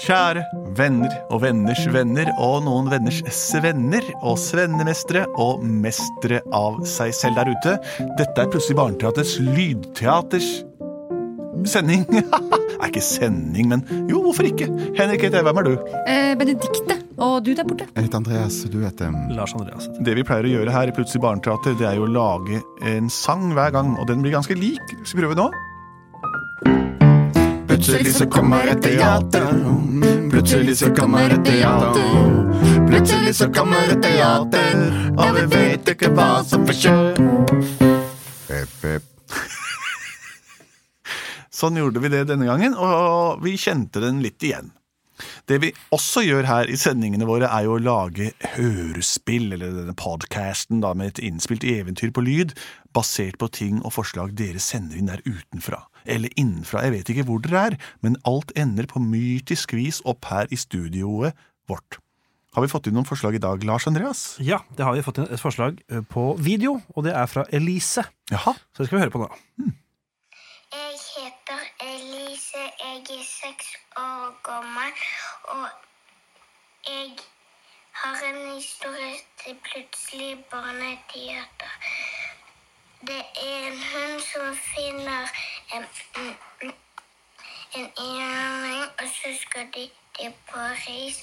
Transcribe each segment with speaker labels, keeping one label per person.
Speaker 1: Kjære venner og venners venner og noen venners svenner og svennemestere og mestere av seg selv der ute. Dette er plutselig Barneteaters lydteaters sending. er ikke sending, men jo, hvorfor ikke? Henrik heter jeg, hvem er du?
Speaker 2: Eh, Benedikte, og du der borte.
Speaker 3: Jeg heter Andreas, og du heter um,
Speaker 4: Lars Andreas heter
Speaker 1: Det vi pleier å gjøre her i Plutselig barneteater, det er jo å lage en sang hver gang, og den blir ganske lik. Skal vi prøve nå?
Speaker 3: Plutselig så kommer et teater. Plutselig så kommer et teater. Plutselig så kommer et teater, og vi vet ikke hva som vil skje. Pep, pep.
Speaker 1: Sånn gjorde vi det denne gangen, og vi kjente den litt igjen. Det vi også gjør her i sendingene våre, er jo å lage hørespill, eller denne podcasten da, med et innspilt eventyr på lyd, basert på ting og forslag dere sender inn der utenfra. Eller innenfra, jeg vet ikke hvor dere er, men alt ender på mytisk vis opp her i studioet vårt. Har vi fått inn noen forslag i dag, Lars Andreas?
Speaker 4: Ja, det har vi fått inn et forslag eh, på video, og det er fra Elise.
Speaker 1: Jaha.
Speaker 4: Så det skal vi høre på nå.
Speaker 5: Jeg heter Elise, jeg er seks år gammel, og jeg har en historie til plutselig barneteater. Det er en hund som finner en, en, en enhjørning, og så skal de, de på reis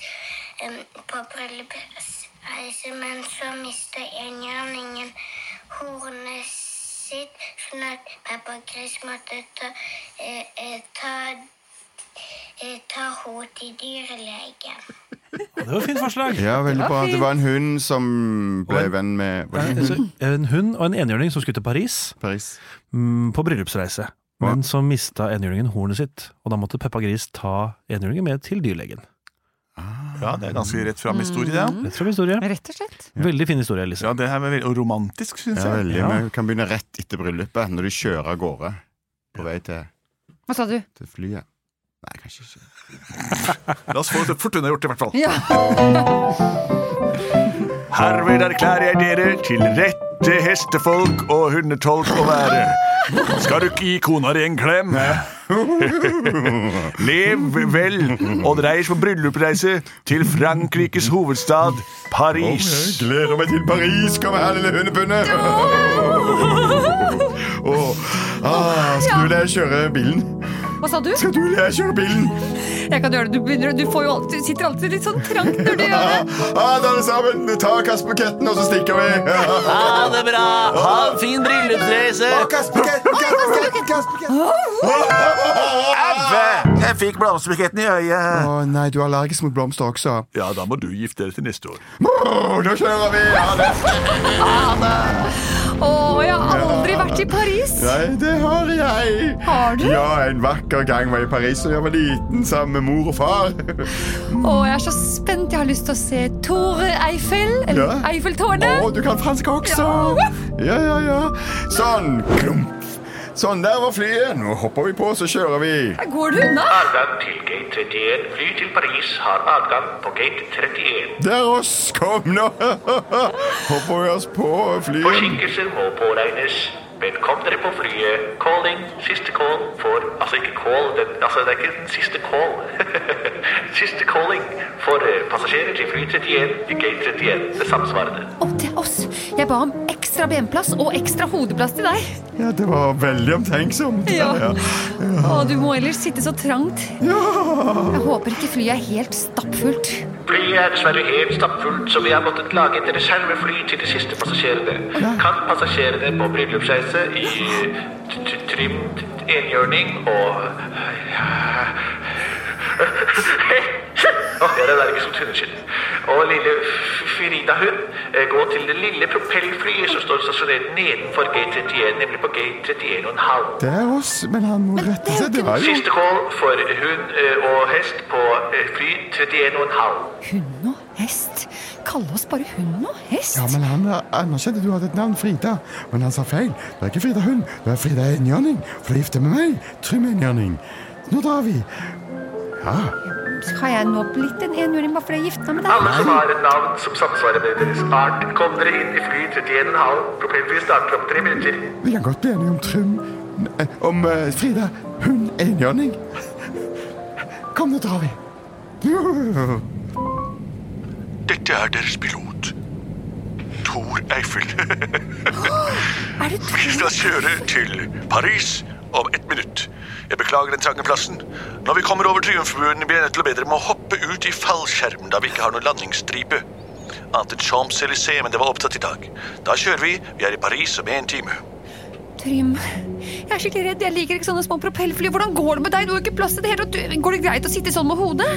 Speaker 5: em, på bryllupsreise, men så mister enhjørningen hornet sitt, sånn at Peppa Gris måtte ta, eh, eh, ta, eh, ta henne til dyrlegen.
Speaker 4: Ja, det var et fint forslag.
Speaker 3: Ja, veldig bra. Det var en hund som ble venn med var det en hund?
Speaker 4: Eh, Så En hund og en enhjørning som skulle til Paris
Speaker 3: Paris.
Speaker 4: mm, på bryllupsreise. Men så mista enhjørningen hornet sitt, og da måtte Peppa Gris ta enhjørningen med til dyrlegen.
Speaker 1: Ja, det er ganske rett fram historie, det. ja.
Speaker 4: Rett fra historie.
Speaker 2: Mm. Rett og slett.
Speaker 4: Veldig fin historie, Elise.
Speaker 1: Ja, det her var veldig og romantisk, syns
Speaker 3: Ja,
Speaker 1: jeg.
Speaker 3: veldig.
Speaker 4: Ja.
Speaker 3: Vi kan begynne rett etter bryllupet, når du kjører av gårde på vei til,
Speaker 2: Hva sa du?
Speaker 3: til flyet. Nei, kanskje ikke.
Speaker 1: La oss få det fort unnagjort, i hvert fall.
Speaker 2: Ja.
Speaker 1: Herved erklærer jeg dere til rette hestefolk og hundetolk å være. Skal du ikke gi kona di en klem? Lev vel og reis på bryllupsreise til Frankrikes hovedstad, Paris.
Speaker 3: gleder meg til Paris! Kom her, lille hundepunne! Åh, ah, skal du lære å kjøre bilen?
Speaker 2: Hva sa du?
Speaker 3: Skal du lære å kjøre bilen?
Speaker 2: Jeg kan gjøre det. Du, begynner, du, får jo, alltid- du sitter alltid litt sånn trangt når du gjør det.
Speaker 3: Ah, alle sammen, ta kastbuketten, og så stikker vi! Ah,
Speaker 6: Ha det bra! Ha en fin bryllupsreise!
Speaker 1: Ah, Jeg fikk blomsterbuketten i øyet.
Speaker 3: Å nei, du er allergisk mot blomster også.
Speaker 1: Ja, da må du gifte deg til neste år.
Speaker 3: Åh, da kjører vi! Ja, det.
Speaker 2: Å, jeg har aldri vært i Paris.
Speaker 3: Nei, det har jeg.
Speaker 2: Har du?
Speaker 3: Ja, en vakker gang var jeg i Paris da jeg var liten sammen med mor og far.
Speaker 2: Å, jeg er så spent. Jeg har lyst til å se Tore Eiffel. Eller
Speaker 3: Ja.
Speaker 2: Eiffeltårnet.
Speaker 3: Å, du kan fransk også!
Speaker 2: Ja.
Speaker 3: Ja, ja, ja. Sånn. Klump. Sånn, der var flyet. Nå hopper vi på, så kjører vi.
Speaker 2: Her går du unna.
Speaker 7: Adgang til gate 31. Fly til Paris har adgang på gate 31.
Speaker 3: Der oss, kom nå! Hopper vi oss på flyet.
Speaker 7: Forsinkelser må påregnes. Men kom dere på flyet. Calling. Siste call for Altså ikke call, den, altså det er ikke den siste call. siste calling for eh, passasjerer til fly 31 i gate 31. Det samsvarende.
Speaker 2: Opp til oss. Jeg ba om ekstra benplass og ekstra hodeplass til deg.
Speaker 3: Ja, det var veldig omtenksomt.
Speaker 2: Ja. Å, du må ellers sitte så trangt. Jeg håper ikke flyet er helt stappfullt.
Speaker 7: Flyet er dessverre helt stappfullt, så vi har måttet lage et reservefly til de siste passasjerene. Kan passasjerene på bryllupsreise i t- t- trim t- enhjørning og Åh, Jeg er allergisk mot hundeskinn. Og lille F- Frida-hund eh, gå til det lille propellflyet som står stasjonert nedenfor G31, nemlig på G31,5.
Speaker 3: Det er oss, men han må rette seg. Det var jo
Speaker 7: Siste call for hund eh, og hest på eh, fly 31,5.
Speaker 2: Hund og hest? Kalle oss bare hund og hest?
Speaker 3: Ja, men han eh, anerkjente du hadde et navn, Frida. Men han sa feil. Det er ikke Frida Hund, det er Frida Enhjørning. For du er gift med meg, Trym Enhjørning. Nå drar vi. Ja,
Speaker 2: Har jeg nå blitt en enhjørning bare fordi jeg gifta meg med deg?
Speaker 7: Alle som har et navn som samsvarer med deres art, kom dere inn i fly 31,5. Propellfly starter om tre minutter.
Speaker 3: vi kan godt bli enige om Trym eh, Om eh, Frida Hund Enhjørning. Kom, nå drar vi.
Speaker 1: Dette er deres pilot. Tor Eiffel.
Speaker 2: Er det
Speaker 1: Vi
Speaker 2: to
Speaker 1: skal kjøre til Paris om ett minutt. Jeg beklager den trange plassen. Når vi kommer over Triumfbuen, blir jeg nødt til å bedre med å hoppe ut i fallskjerm, da vi ikke har noen landingsstripe. Annet enn Champs-Élysées, men det var opptatt i dag. Da kjører vi. Vi er i Paris om én time.
Speaker 2: Trym? Jeg er skikkelig redd. Jeg liker ikke sånne små propellfly. Hvordan går det med deg? Du har ikke plass til det hele tatt. Du- Går det greit å sitte sånn med hodet?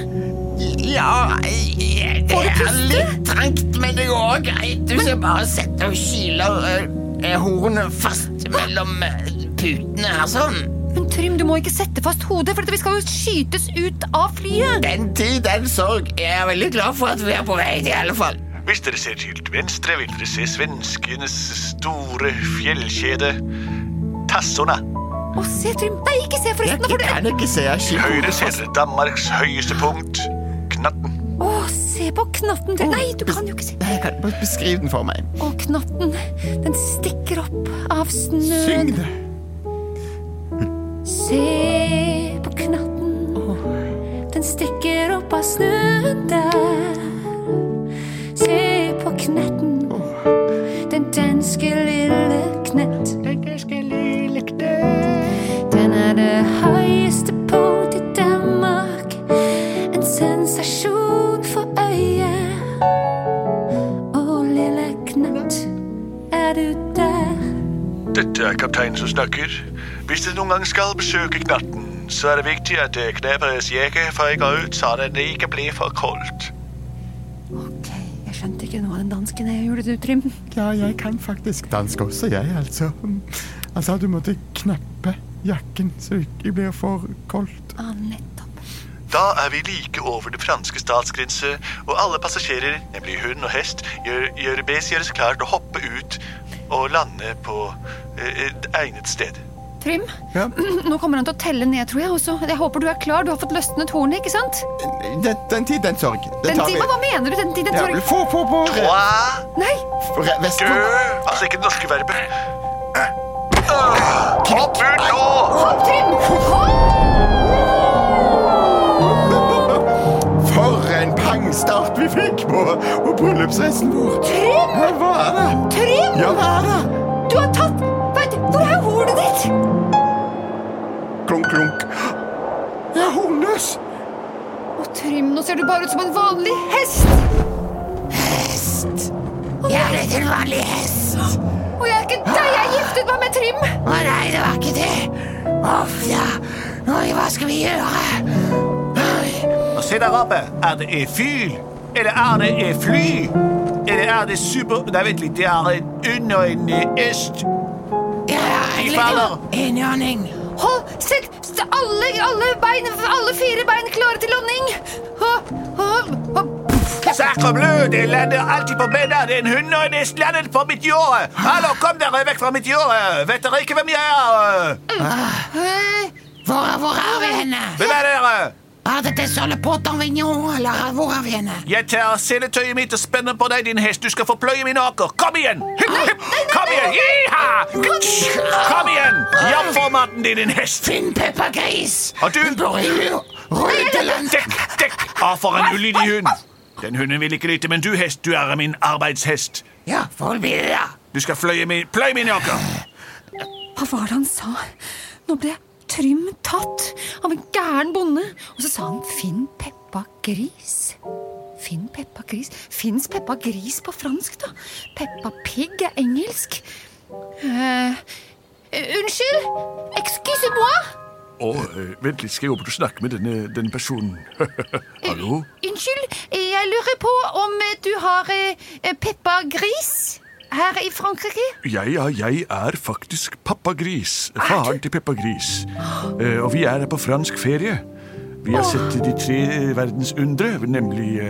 Speaker 8: Ja, eh, det
Speaker 2: Får du
Speaker 8: er
Speaker 2: puste?
Speaker 8: litt trangt, men det går greit. Du skal bare sette og kyle eh, eh, hornet fast mellom eh, putene her sånn.
Speaker 2: Men Trym, du må ikke sette fast hodet, for at vi skal jo skytes ut av flyet.
Speaker 8: Den tid, den sorg. Jeg er veldig glad for at vi er på vei til i alle fall.
Speaker 1: Hvis dere ser til venstre, vil dere se svenskenes store fjellkjede Tassona.
Speaker 2: Å, se, Trym. Nei, ikke se
Speaker 8: Jeg
Speaker 2: forresten. For det.
Speaker 8: kan ikke se jeg
Speaker 1: Til
Speaker 8: skyter
Speaker 1: høyre
Speaker 8: hodet
Speaker 1: ser
Speaker 8: fast.
Speaker 1: dere Danmarks høyeste punkt, Knatten.
Speaker 2: Å, se på knatten. Trym. Nei, du kan jo ikke se.
Speaker 8: Nei, kan du Beskriv den for meg.
Speaker 2: Å, knatten. Den stikker opp av snøen.
Speaker 3: Syng det.
Speaker 2: Se på knatten, den stikker opp av snøen der. Se på knetten, den danske lille knett. Den er det høyeste punkt i Danmark, en sensasjon for øyet. Å, lille knett, er du der?
Speaker 1: Dette er kapteinen som snakker. Hvis dere noen gang skal besøke Knatten, så er det viktig at dere kner på deres jakke for ikke å ut, så det ikke blir for koldt.
Speaker 2: Ok, jeg skjønte ikke noe av den dansken jeg gjorde, du, Trym.
Speaker 3: Ja, jeg kan faktisk dansk også, jeg, altså. Han sa du måtte kneppe jakken så det ikke blir for koldt.
Speaker 2: Ah, nettopp.
Speaker 1: Da er vi like over det franske statsgrense, og alle passasjerer, nemlig hund og hest, gjør, gjør bes gjøres klar til å hoppe ut og lande på eh, et egnet sted.
Speaker 2: Trym,
Speaker 3: Ja.
Speaker 2: nå kommer han til å telle ned, tror jeg. Også. Jeg håper du er klar. Du har fått løsnet hornet, ikke sant?
Speaker 3: Den, den tid, den sorg. Det
Speaker 2: Den
Speaker 3: tar vi.
Speaker 2: tiden, hva mener du? Den tiden,
Speaker 3: Ja,
Speaker 2: sorry.
Speaker 3: få på på
Speaker 1: Trois,
Speaker 2: Nei!
Speaker 3: re- vest-
Speaker 1: dø Altså ikke det norske verbet. Øh, Hopp ut nå!
Speaker 2: Hopp, Trym! Hopp!
Speaker 3: For en pangstart vi fikk på, på bryllupsreisen vår.
Speaker 2: Trym!
Speaker 3: Ja, hva er det?
Speaker 2: Trym!
Speaker 3: Ja, hva er det?
Speaker 2: Du har tatt Vent, hvor er hornet ditt?
Speaker 3: Klunk, klunk. Jeg er hornløs.
Speaker 2: Å, Trym, nå ser du bare ut som en vanlig hest.
Speaker 8: Hest. Jeg er ikke en vanlig hest.
Speaker 2: Og jeg er ikke deg. Jeg giftet meg med Trym.
Speaker 8: Å nei, det var ikke det. Uff, ja. Oi, hva skal vi gjøre? Oi.
Speaker 6: Og se der oppe. Er det et fyl? Eller er det et fly? Eller er det super... Nei, vent litt. Det er en hund og en eh, hest.
Speaker 8: Ja,
Speaker 6: Fy fader.
Speaker 8: Enhjørning.
Speaker 2: Hold, sett st- alle, alle bein, alle fire bein klare til landing. Hopp, hopp, hopp.
Speaker 6: Sacre bleu, det lander alltid på beina. Det er en hund og en hest landet på mitt jorde. Hallo, kom dere vekk fra mitt jorde. Vet dere ikke hvem jeg er?
Speaker 2: Hei.
Speaker 8: Hvor, hvor er vi henne?
Speaker 6: Hvem er dere?
Speaker 8: Er dette Solepot en Vignon, eller hvor er vi henne?
Speaker 6: Jeg tar seletøyet mitt og spenner på deg, din hest. Du skal få pløye min åker. Kom igjen! Hipp, hipp. Kom igjen! Jiha! Kom igjen! Japp for maten din, din hest.
Speaker 8: Finn Peppa Gris!
Speaker 6: Og du,
Speaker 8: Rødeland!
Speaker 6: dekk, dekk! Å, for en ulydig hund. Den hunden vil ikke lytte, men du, hest, du er min arbeidshest.
Speaker 8: Ja, får bli det, da.
Speaker 6: Du skal fløye min, pløye min åker.
Speaker 2: Hva var det han sa? Nå ble Trym tatt av en gæren bonde. Og så sa han 'Finn Peppa Gris'. Finn Peppa Gris? Fins Peppa Gris på fransk, da? Peppa Pig er engelsk. Eh, eh, unnskyld! Excusez-moi!
Speaker 1: øh, Å, vent litt, skal jeg gå bort og snakke med denne, denne personen. Hallo?
Speaker 2: Unnskyld, jeg jeg lurer på om eh, du har eh, eh, Peppa Gris her i Frankrike?
Speaker 1: Ja, ja, jeg er faktisk pappa Gris. Faren til Peppa Gris. Eh, og vi er her på fransk ferie. Vi har sett de tre verdensundre, nemlig eh,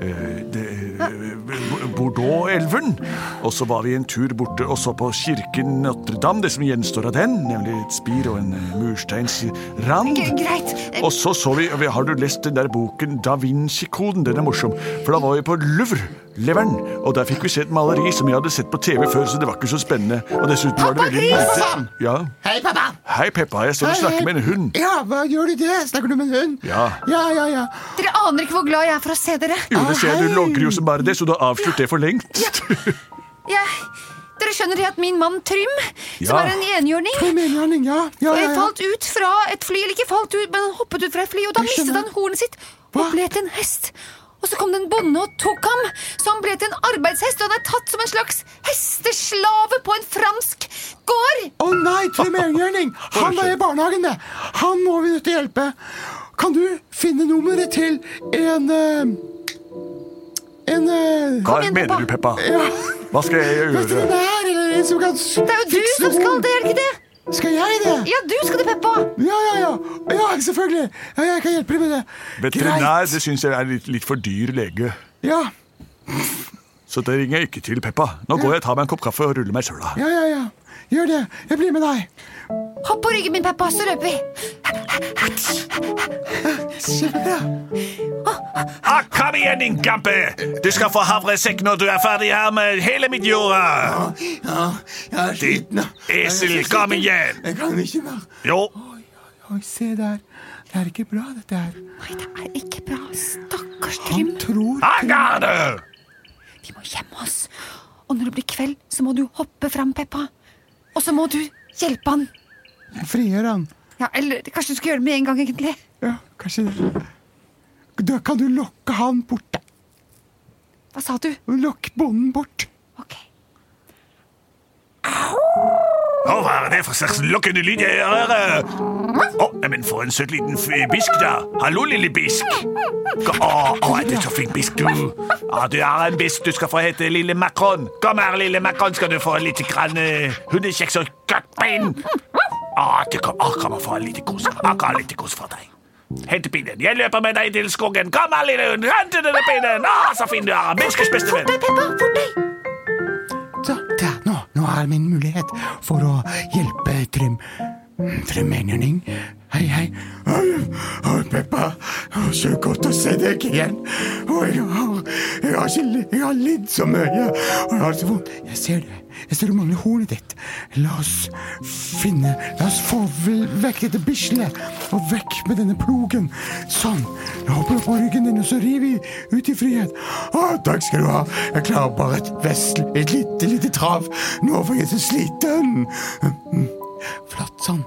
Speaker 1: eh, det- eh, Bordeaux-elven. Og så var vi en tur borte og så på kirken Notre-Dame, det som gjenstår av den. Nemlig et spir og en eh, mursteinsrand.
Speaker 2: G- Greit. Eh,
Speaker 1: Og så så vi, vi- Har du lest den der boken Da Vinci-koden? Den er morsom. For da var vi på Louvre, Leveren, og der fikk vi se et maleri som jeg hadde sett på TV før, så det var ikke så spennende. Og dessuten var det veldig
Speaker 9: Pappa
Speaker 1: lite- Ja.
Speaker 9: Hei, pappa!
Speaker 1: Hei, Peppa. Jeg står og snakker med en hund.
Speaker 3: Ja, hva gjør du det? Snakker du med en hund?
Speaker 1: Ja.
Speaker 3: Ja, ja, ja.
Speaker 2: Dere aner ikke hvor glad jeg er for å se dere.
Speaker 1: Jo, det ser jeg. Du
Speaker 3: hei.
Speaker 1: logrer jo som bare det, så du har avslørt det for lengt.
Speaker 2: Jeg, dere skjønner det at min mann Trym, som
Speaker 1: Ja.
Speaker 2: er en enhjørning
Speaker 3: Jeg mener, Henning, ja. Ja, ja,
Speaker 2: eh,
Speaker 3: ja.
Speaker 2: falt ut fra et fly, eller ikke falt ut, men han hoppet ut fra et fly, og da
Speaker 3: Jeg
Speaker 2: mistet
Speaker 3: skjønner.
Speaker 2: han hornet sitt og ble til en hest. Og så kom det en bonde og tok ham, så han ble til en arbeidshest, og han er tatt som en slags hesteslave på en fransk gård.
Speaker 3: Å nei, Trym Engjørning! Han er i barnehagen, det! Han må vi nødt til å hjelpe. Kan du finne nummeret til en eh, En eh,
Speaker 1: Hva
Speaker 2: igjen,
Speaker 1: mener
Speaker 2: Peppa.
Speaker 1: du, Peppa? Hva skal jeg gjøre?
Speaker 3: veterinær eller en som kan s- fikse
Speaker 2: Det er jo du som skal det, er det ikke det?
Speaker 3: Skal jeg det?
Speaker 2: Ja, du skal det, Peppa.
Speaker 3: Ja, ja, ja. Ja, selvfølgelig. Ja, jeg kan hjelpe deg med det.
Speaker 1: Veterinær det syns jeg er litt, litt for dyr lege.
Speaker 3: Greit. Ja,
Speaker 1: Så det ringer jeg ikke til, Peppa. Nå går jeg og tar meg en kopp kaffe og ruller meg i søla.
Speaker 3: ja, ja, ja. Gjør det. Jeg blir med deg.
Speaker 2: Hopp på ryggen min, Peppa, så løper vi.
Speaker 3: Kjempebra.
Speaker 1: Ah, kom igjen, din gampe! Du skal få havresekk når du er ferdig her med hele mitt jorda!
Speaker 3: Ja, jeg er sliten. da.
Speaker 1: esel,
Speaker 3: Jeg er så
Speaker 1: kom
Speaker 3: sliten.
Speaker 1: igjen.
Speaker 3: Jeg kan ikke mer.
Speaker 1: Jo,
Speaker 3: Oi, se der. Det er ikke bra, dette her.
Speaker 2: Nei, det er ikke bra. Stakkars
Speaker 3: Han
Speaker 2: Trym.
Speaker 3: tror
Speaker 1: Ah! Agarde!
Speaker 2: Vi må gjemme oss. Og når det blir kveld, så må du hoppe fram, Peppa. Og så må du hjelpe han.
Speaker 3: Frigjør han.
Speaker 2: Ja, eller kanskje du skal gjøre det med en gang, egentlig.
Speaker 3: Ja, kanskje det. Da kan du lokke han bort. da.
Speaker 2: Hva sa du?
Speaker 3: Lokk bonden bort.
Speaker 2: Ok.
Speaker 1: Å, hva er det for slags lokkende lyd jeg hører? Å, nei, men for en søt liten f- bisk, da. Hallo, lille bisk. Gå- Å, å, er du så flink bisk, du? Ja, du er en bisk. Du skal få hete Lille Makron. Kom her, Lille Makron, skal du få litt grann uh, hundekjeks og kattbein. Å, du kom, å, kom og få litt kos. Å, kom, litt kos for deg. Hent pinnen. Jeg løper med deg til skogen. Kom her, lille hund. Renn til denne pinnen. Å, så fin du er. Biskers beste venn.
Speaker 2: Fort deg, Peppa! Fort deg!
Speaker 3: Da, da, nå, nå er min mulighet for å hjelpe Trym. Trym Engjørning. Hei, hei. Oi, oi, Peppa. Å, Så godt å se deg igjen. Oi, jeg har- jeg har, ikke, li- jeg har lidd så mye, og jeg har så vondt. Jeg ser det. Jeg ser du mangler hornet ditt. La oss finne La oss få v- vekk dette bislet, og vekk med denne plogen. Sånn. Jeg hopper opp på ryggen din, og så rir vi ut i frihet. Å, takk skal du ha. Jeg klarer bare et vesle, et lite, lite trav. Nå for jeg er så sliten. Mm. Flott. Sånn.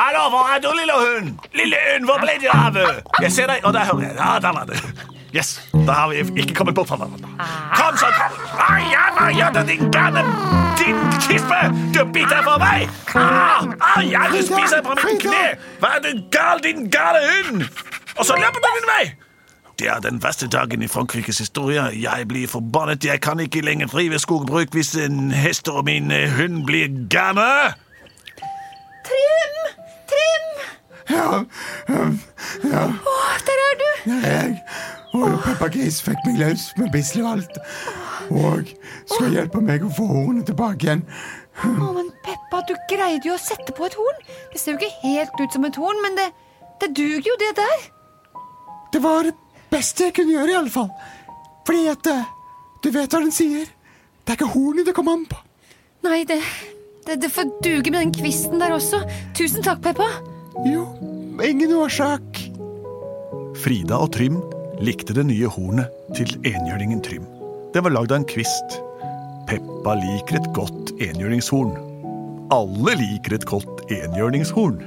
Speaker 1: Hallo, hvor er du, lille hund? Lille hund, hvor ble du av? Jeg ser deg, og der hører jeg. Ja, der var du. Yes, da har vi ikke kommet bort fra hverandre. Kom sånn. Ai, ja, hva gjør du, din gærne Din kispe! Du biter for meg! Au, au, ja, du spiser på mitt kne! Hva er du gal, din gale hund? Og så løper du din vei! Det er den verste dagen i Frankrikes historie. Jeg blir forbannet. Jeg kan ikke lenger drive skogbruk hvis en hest og min eh, hund blir gærne.
Speaker 2: Trym! Trym!
Speaker 3: Ja, um, ja.
Speaker 2: Å, der er du!
Speaker 3: Ja, jeg og Peppa Gris fikk meg løs med bislevalt. Og skal hjelpe meg å få hornet tilbake igjen.
Speaker 2: Å, men Peppa, du greide jo å sette på et horn. Det ser jo ikke helt ut som et horn, men det, det duger jo, det der.
Speaker 3: Det var det beste jeg kunne gjøre, i alle fall. Fordi at eh, Du vet hva den sier. Det er ikke hornet det kommer an på.
Speaker 2: Nei, det, det, det får duge med den kvisten der også. Tusen takk, Peppa.
Speaker 3: Jo, ingen årsak.
Speaker 10: Frida og Trym likte det nye hornet til enhjørningen Trym. Det var lagd av en kvist. Peppa liker et godt enhjørningshorn. Alle liker et godt enhjørningshorn.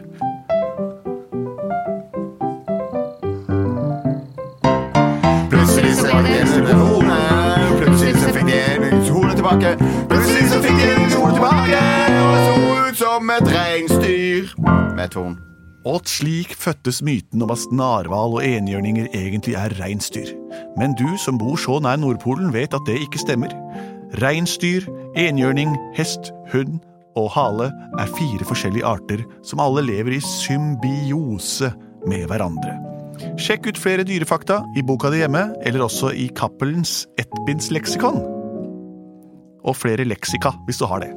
Speaker 3: Plutselig så var det en med hornet. Plutselig så fikk de en hornet tilbake. Plutselig så fikk de en hornet tilbake. Og så ut som et reinsdyr med et horn.
Speaker 1: Og slik fødtes myten om at snarhval og enhjørninger egentlig er reinsdyr. Men du som bor så nær Nordpolen, vet at det ikke stemmer. Reinsdyr, enhjørning, hest, hund og hale er fire forskjellige arter som alle lever i symbiose med hverandre. Sjekk ut flere dyrefakta i boka di hjemme, eller også i Cappelens ettbindsleksikon. Og flere leksika, hvis du har det.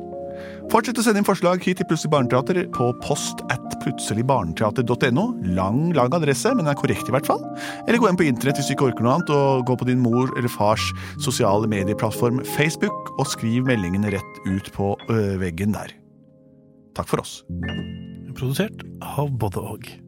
Speaker 1: Fortsett å sende inn forslag hit til Plutselig barneteater på post at plutseligbarneteater.no. Lang, lang adresse, men den er korrekt i hvert fall. Eller gå inn på internett hvis du ikke orker noe annet, og gå på din mor eller fars sosiale medieplattform Facebook, og skriv meldingene rett ut på ø, veggen der. Takk for oss.
Speaker 4: Produsert av både og.